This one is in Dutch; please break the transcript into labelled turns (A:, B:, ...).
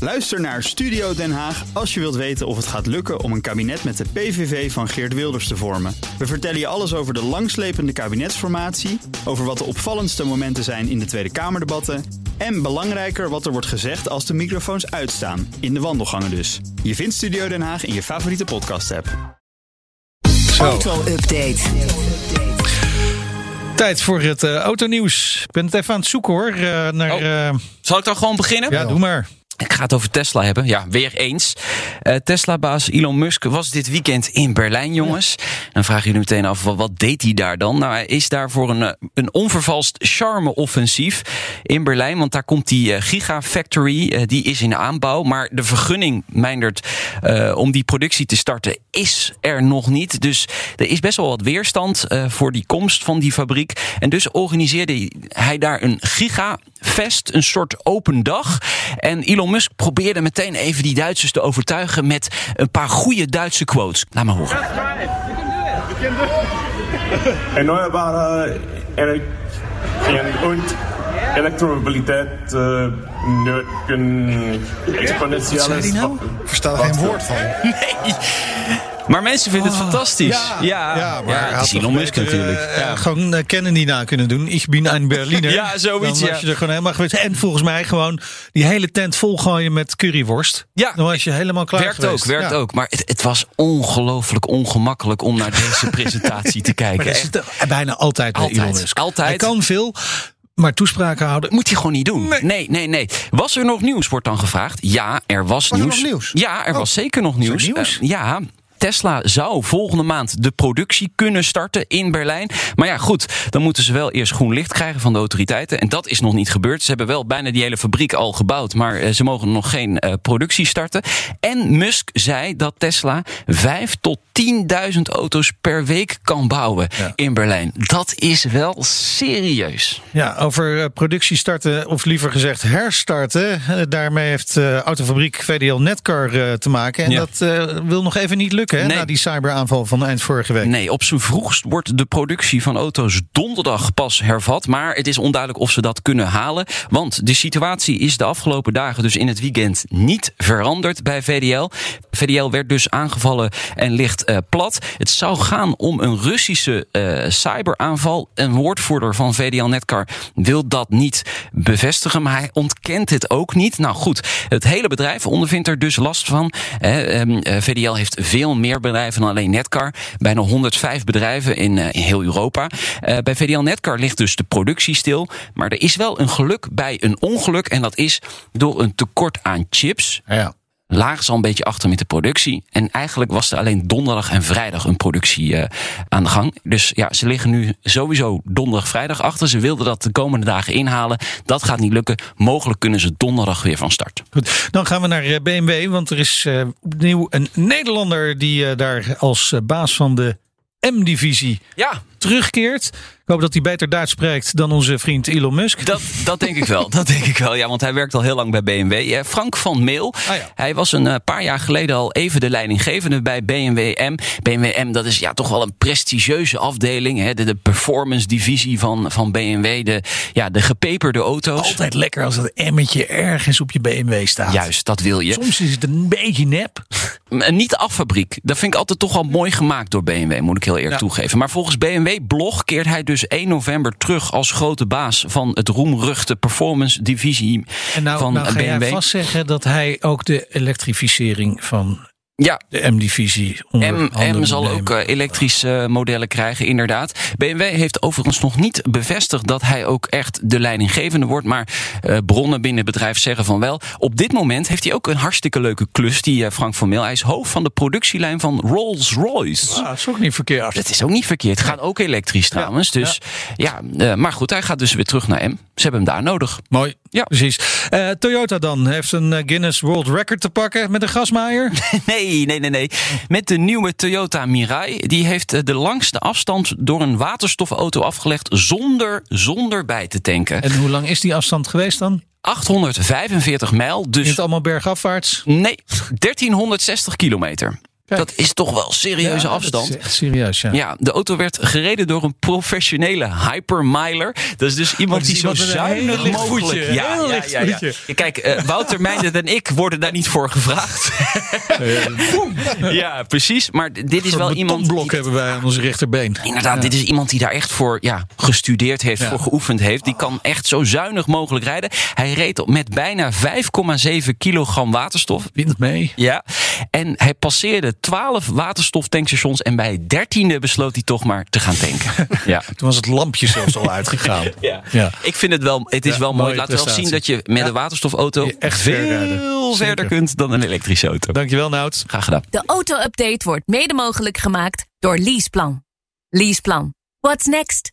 A: Luister naar Studio Den Haag als je wilt weten of het gaat lukken om een kabinet met de PVV van Geert Wilders te vormen. We vertellen je alles over de langslepende kabinetsformatie, over wat de opvallendste momenten zijn in de Tweede Kamerdebatten en belangrijker wat er wordt gezegd als de microfoons uitstaan, in de wandelgangen dus. Je vindt Studio Den Haag in je favoriete podcast-app.
B: Zo,
C: Auto-update.
B: tijd voor het eh, autonieuws. Ik ben het even aan het zoeken hoor. eh, naar,
D: Oh.
B: eh,
D: Zal ik dan gewoon beginnen?
B: ja, doe maar.
D: Ik ga het over Tesla hebben. Ja, weer eens. Eh, Tesla-baas Elon Musk was dit weekend in Berlijn, jongens. Dan vraag je je meteen af, wat, wat deed hij daar dan? Nou, hij is daar voor een, eh, een onvervalst charme-offensief in Berlijn. Want daar komt die eh, Gigafactory, eh, die is in aanbouw. Maar de vergunning, mijndert, eh, om die productie te starten, is er nog niet. Dus er is best wel wat weerstand eh, voor die komst van die fabriek. En dus organiseerde hij daar een Gigafest, een soort open dag. En Elon Musk probeerde meteen even die Duitsers te overtuigen met een paar goede Duitse quotes. Laat maar horen.
E: nou, Erneuerbare Energien und Elektromobilität äh, nötigen exponentielles
F: nou? Ik versta er geen woord van.
D: Nee. Maar mensen vinden het fantastisch. Ah. Ja, ja,
B: hij
D: het
B: had
D: is
B: toch
D: Elon Musk
B: beter,
D: natuurlijk.
B: eh,
D: ja.
B: Gewoon eh, Kennedy na kunnen doen. Ik bin een Berliner.
D: Ja, zoiets,
B: Dan was
D: ja.
B: je er gewoon helemaal geweest. En volgens mij gewoon die hele tent volgooien met curryworst.
D: Ja.
B: Dan was je helemaal klaar
D: Werkt
B: geweest.
D: ook, werkt
B: Ja.
D: ook. Maar het, het was ongelooflijk ongemakkelijk om naar deze presentatie te kijken.
B: Maar dat
D: Echt.
B: zit er bijna altijd bij
D: Altijd,
B: Elon Musk.
D: altijd.
B: Hij kan veel, maar toespraken houden.
D: Moet hij gewoon niet doen. Nee. nee, nee, Was er nog nieuws, wordt dan gevraagd. Ja, er was,
F: er
D: nieuws.
F: nog nieuws?
D: Ja, er was zeker nog nieuws.
B: nieuws?
D: Eh, ja. Tesla zou volgende maand de productie kunnen starten in Berlijn. Maar ja, goed, dan moeten ze wel eerst groen licht krijgen van de autoriteiten. En dat is nog niet gebeurd. Ze hebben wel bijna die hele fabriek al gebouwd, maar eh, ze mogen nog geen eh, productie starten. En Musk zei dat Tesla 5 tot 10.000 auto's per week kan bouwen
B: Ja.
D: in Berlijn. Dat is wel serieus.
B: Ja, over eh, productie starten, of liever gezegd herstarten. eh, Daarmee heeft eh, autofabriek VDL Netcar eh, te maken. En
D: Ja.
B: dat eh, wil nog even niet lukken, hè,
D: Nee.
B: na die cyberaanval van eind vorige week.
D: Nee, op zijn vroegst wordt de productie van auto's donderdag pas hervat. Maar het is onduidelijk of ze dat kunnen halen. Want de situatie is de afgelopen dagen, dus in het weekend, niet veranderd bij VDL. VDL werd dus aangevallen en ligt eh, plat. Het zou gaan om een Russische eh, cyberaanval. Een woordvoerder van VDL Netcar wil dat niet bevestigen. Maar hij ontkent het ook niet. Nou goed, het hele bedrijf ondervindt er dus last van. Hè, ehm, eh, VDL heeft veel meer bedrijven dan alleen Netcar. Bijna 105 bedrijven in, eh, in heel Europa. Eh, bij VDL Netcar ligt dus de productie stil. Maar er is wel een geluk bij een ongeluk. En dat is door een tekort aan chips
B: Ja.
D: lagen ze al een beetje achter met de productie. En eigenlijk was er alleen donderdag en vrijdag een productie eh, aan de gang. Dus ja, ze liggen nu sowieso donderdag, vrijdag achter. Ze wilden dat de komende dagen inhalen. Dat gaat niet lukken. Mogelijk kunnen ze donderdag weer van start.
B: Goed, dan gaan we naar eh, BMW, want er is eh, opnieuw een Nederlander die eh, daar als eh, baas van de M-divisie
D: Ja,
B: terugkeert. Ik hoop dat hij beter Duits spreekt dan onze vriend Elon Musk.
D: dat, dat denk ik wel. Dat denk ik wel. Ja, want hij werkt al heel lang bij BMW. Eh, Frank van Meel.
B: Ah, ja.
D: Hij was een eh, paar jaar geleden al even de leidinggevende bij BMW M. BMW M, dat is ja, toch wel een prestigieuze afdeling. Hè? De, de performance divisie van, van BMW. De, ja, de gepeperde auto's.
B: Altijd lekker als dat emmetje ergens op je BMW staat.
D: Juist, dat wil je.
B: Soms is het een beetje nep.
D: Een niet-affabriek. Dat vind ik altijd toch wel mooi gemaakt door BMW, moet ik heel eerlijk
B: Ja.
D: toegeven. Maar volgens BMW-blog keert hij dus 1 november terug als grote baas van het roemruchte performance-divisie
B: En nou,
D: van
B: nou ga jij
D: BMW.
B: vast zeggen dat hij ook de elektrificering van
D: Ja,
B: de M-divisie onder
D: M,
B: handen
D: M
B: moet
D: zal
B: nemen.
D: ook eh, elektrische modellen krijgen, inderdaad. BMW heeft overigens nog niet bevestigd dat hij ook echt de leidinggevende wordt. Maar eh, bronnen binnen het bedrijf zeggen van wel. Op dit moment heeft hij ook een hartstikke leuke klus, die eh, Frank van Meel. Hij is hoofd van de productielijn van Rolls-Royce.
B: Ah, dat is ook niet verkeerd.
D: Dat is ook niet verkeerd. Gaan ook elektrisch trouwens. Dus ja, eh, maar goed, hij gaat dus weer terug naar M. Ze hebben hem daar nodig.
B: Mooi.
D: Ja.
B: Precies. Eh, Toyota dan heeft een eh, Guinness World Record te pakken met een gasmaaier.
D: Nee, nee, nee, nee. Met de nieuwe Toyota Mirai. Die heeft eh, de langste afstand door een waterstofauto afgelegd zonder, zonder bij te tanken.
B: en hoe lang is die afstand geweest dan?
D: 845 mijl,
B: Is het
D: dus
B: allemaal bergafwaarts?
D: nee, 1360 kilometer.
B: Kijk.
D: Dat is toch wel serieuze
B: Ja,
D: afstand.
B: Dat is echt serieus, ja.
D: Ja, de auto werd gereden door een professionele hypermiler. Dat is dus iemand
B: Oh, is
D: die zo
B: iemand met een heel
D: zuinig
B: licht
D: mogelijk...
B: voetje,
D: ja,
B: heel
D: ja,
B: licht
D: ja, ja.
B: voetje.
D: Ja, Kijk, eh, Wouter Meijden en ik worden daar niet voor gevraagd.
B: Eh,
D: ja, precies. Maar d- dit is wel iemand...
B: blok
D: die-
B: hebben wij aan ons rechterbeen.
D: Inderdaad, dit is iemand die daar echt voor ja, gestudeerd heeft,
B: Ja. Ah.
D: voor geoefend heeft. Die kan echt zo zuinig mogelijk rijden. Hij reed op met bijna 5,7 kilogram waterstof.
B: Wind mee.
D: Ja, en hij passeerde 12 waterstoftankstations en bij het dertiende besloot hij toch maar te gaan tanken. ja.
B: Toen was het lampje zelfs al uitgegaan.
D: Ja.
B: Ja.
D: ik vind het wel, het is
B: Ja,
D: wel mooi.
B: mooie
D: Laat wel zien
B: prestatie.
D: dat je met een waterstofauto
B: Je echt
D: veel
B: ver rijden.
D: verder
B: Zeker.
D: kunt dan een elektrische auto.
B: Dankjewel, Nout.
D: Graag gedaan.
C: De auto-update wordt mede mogelijk gemaakt door Leaseplan. Leaseplan. What's next?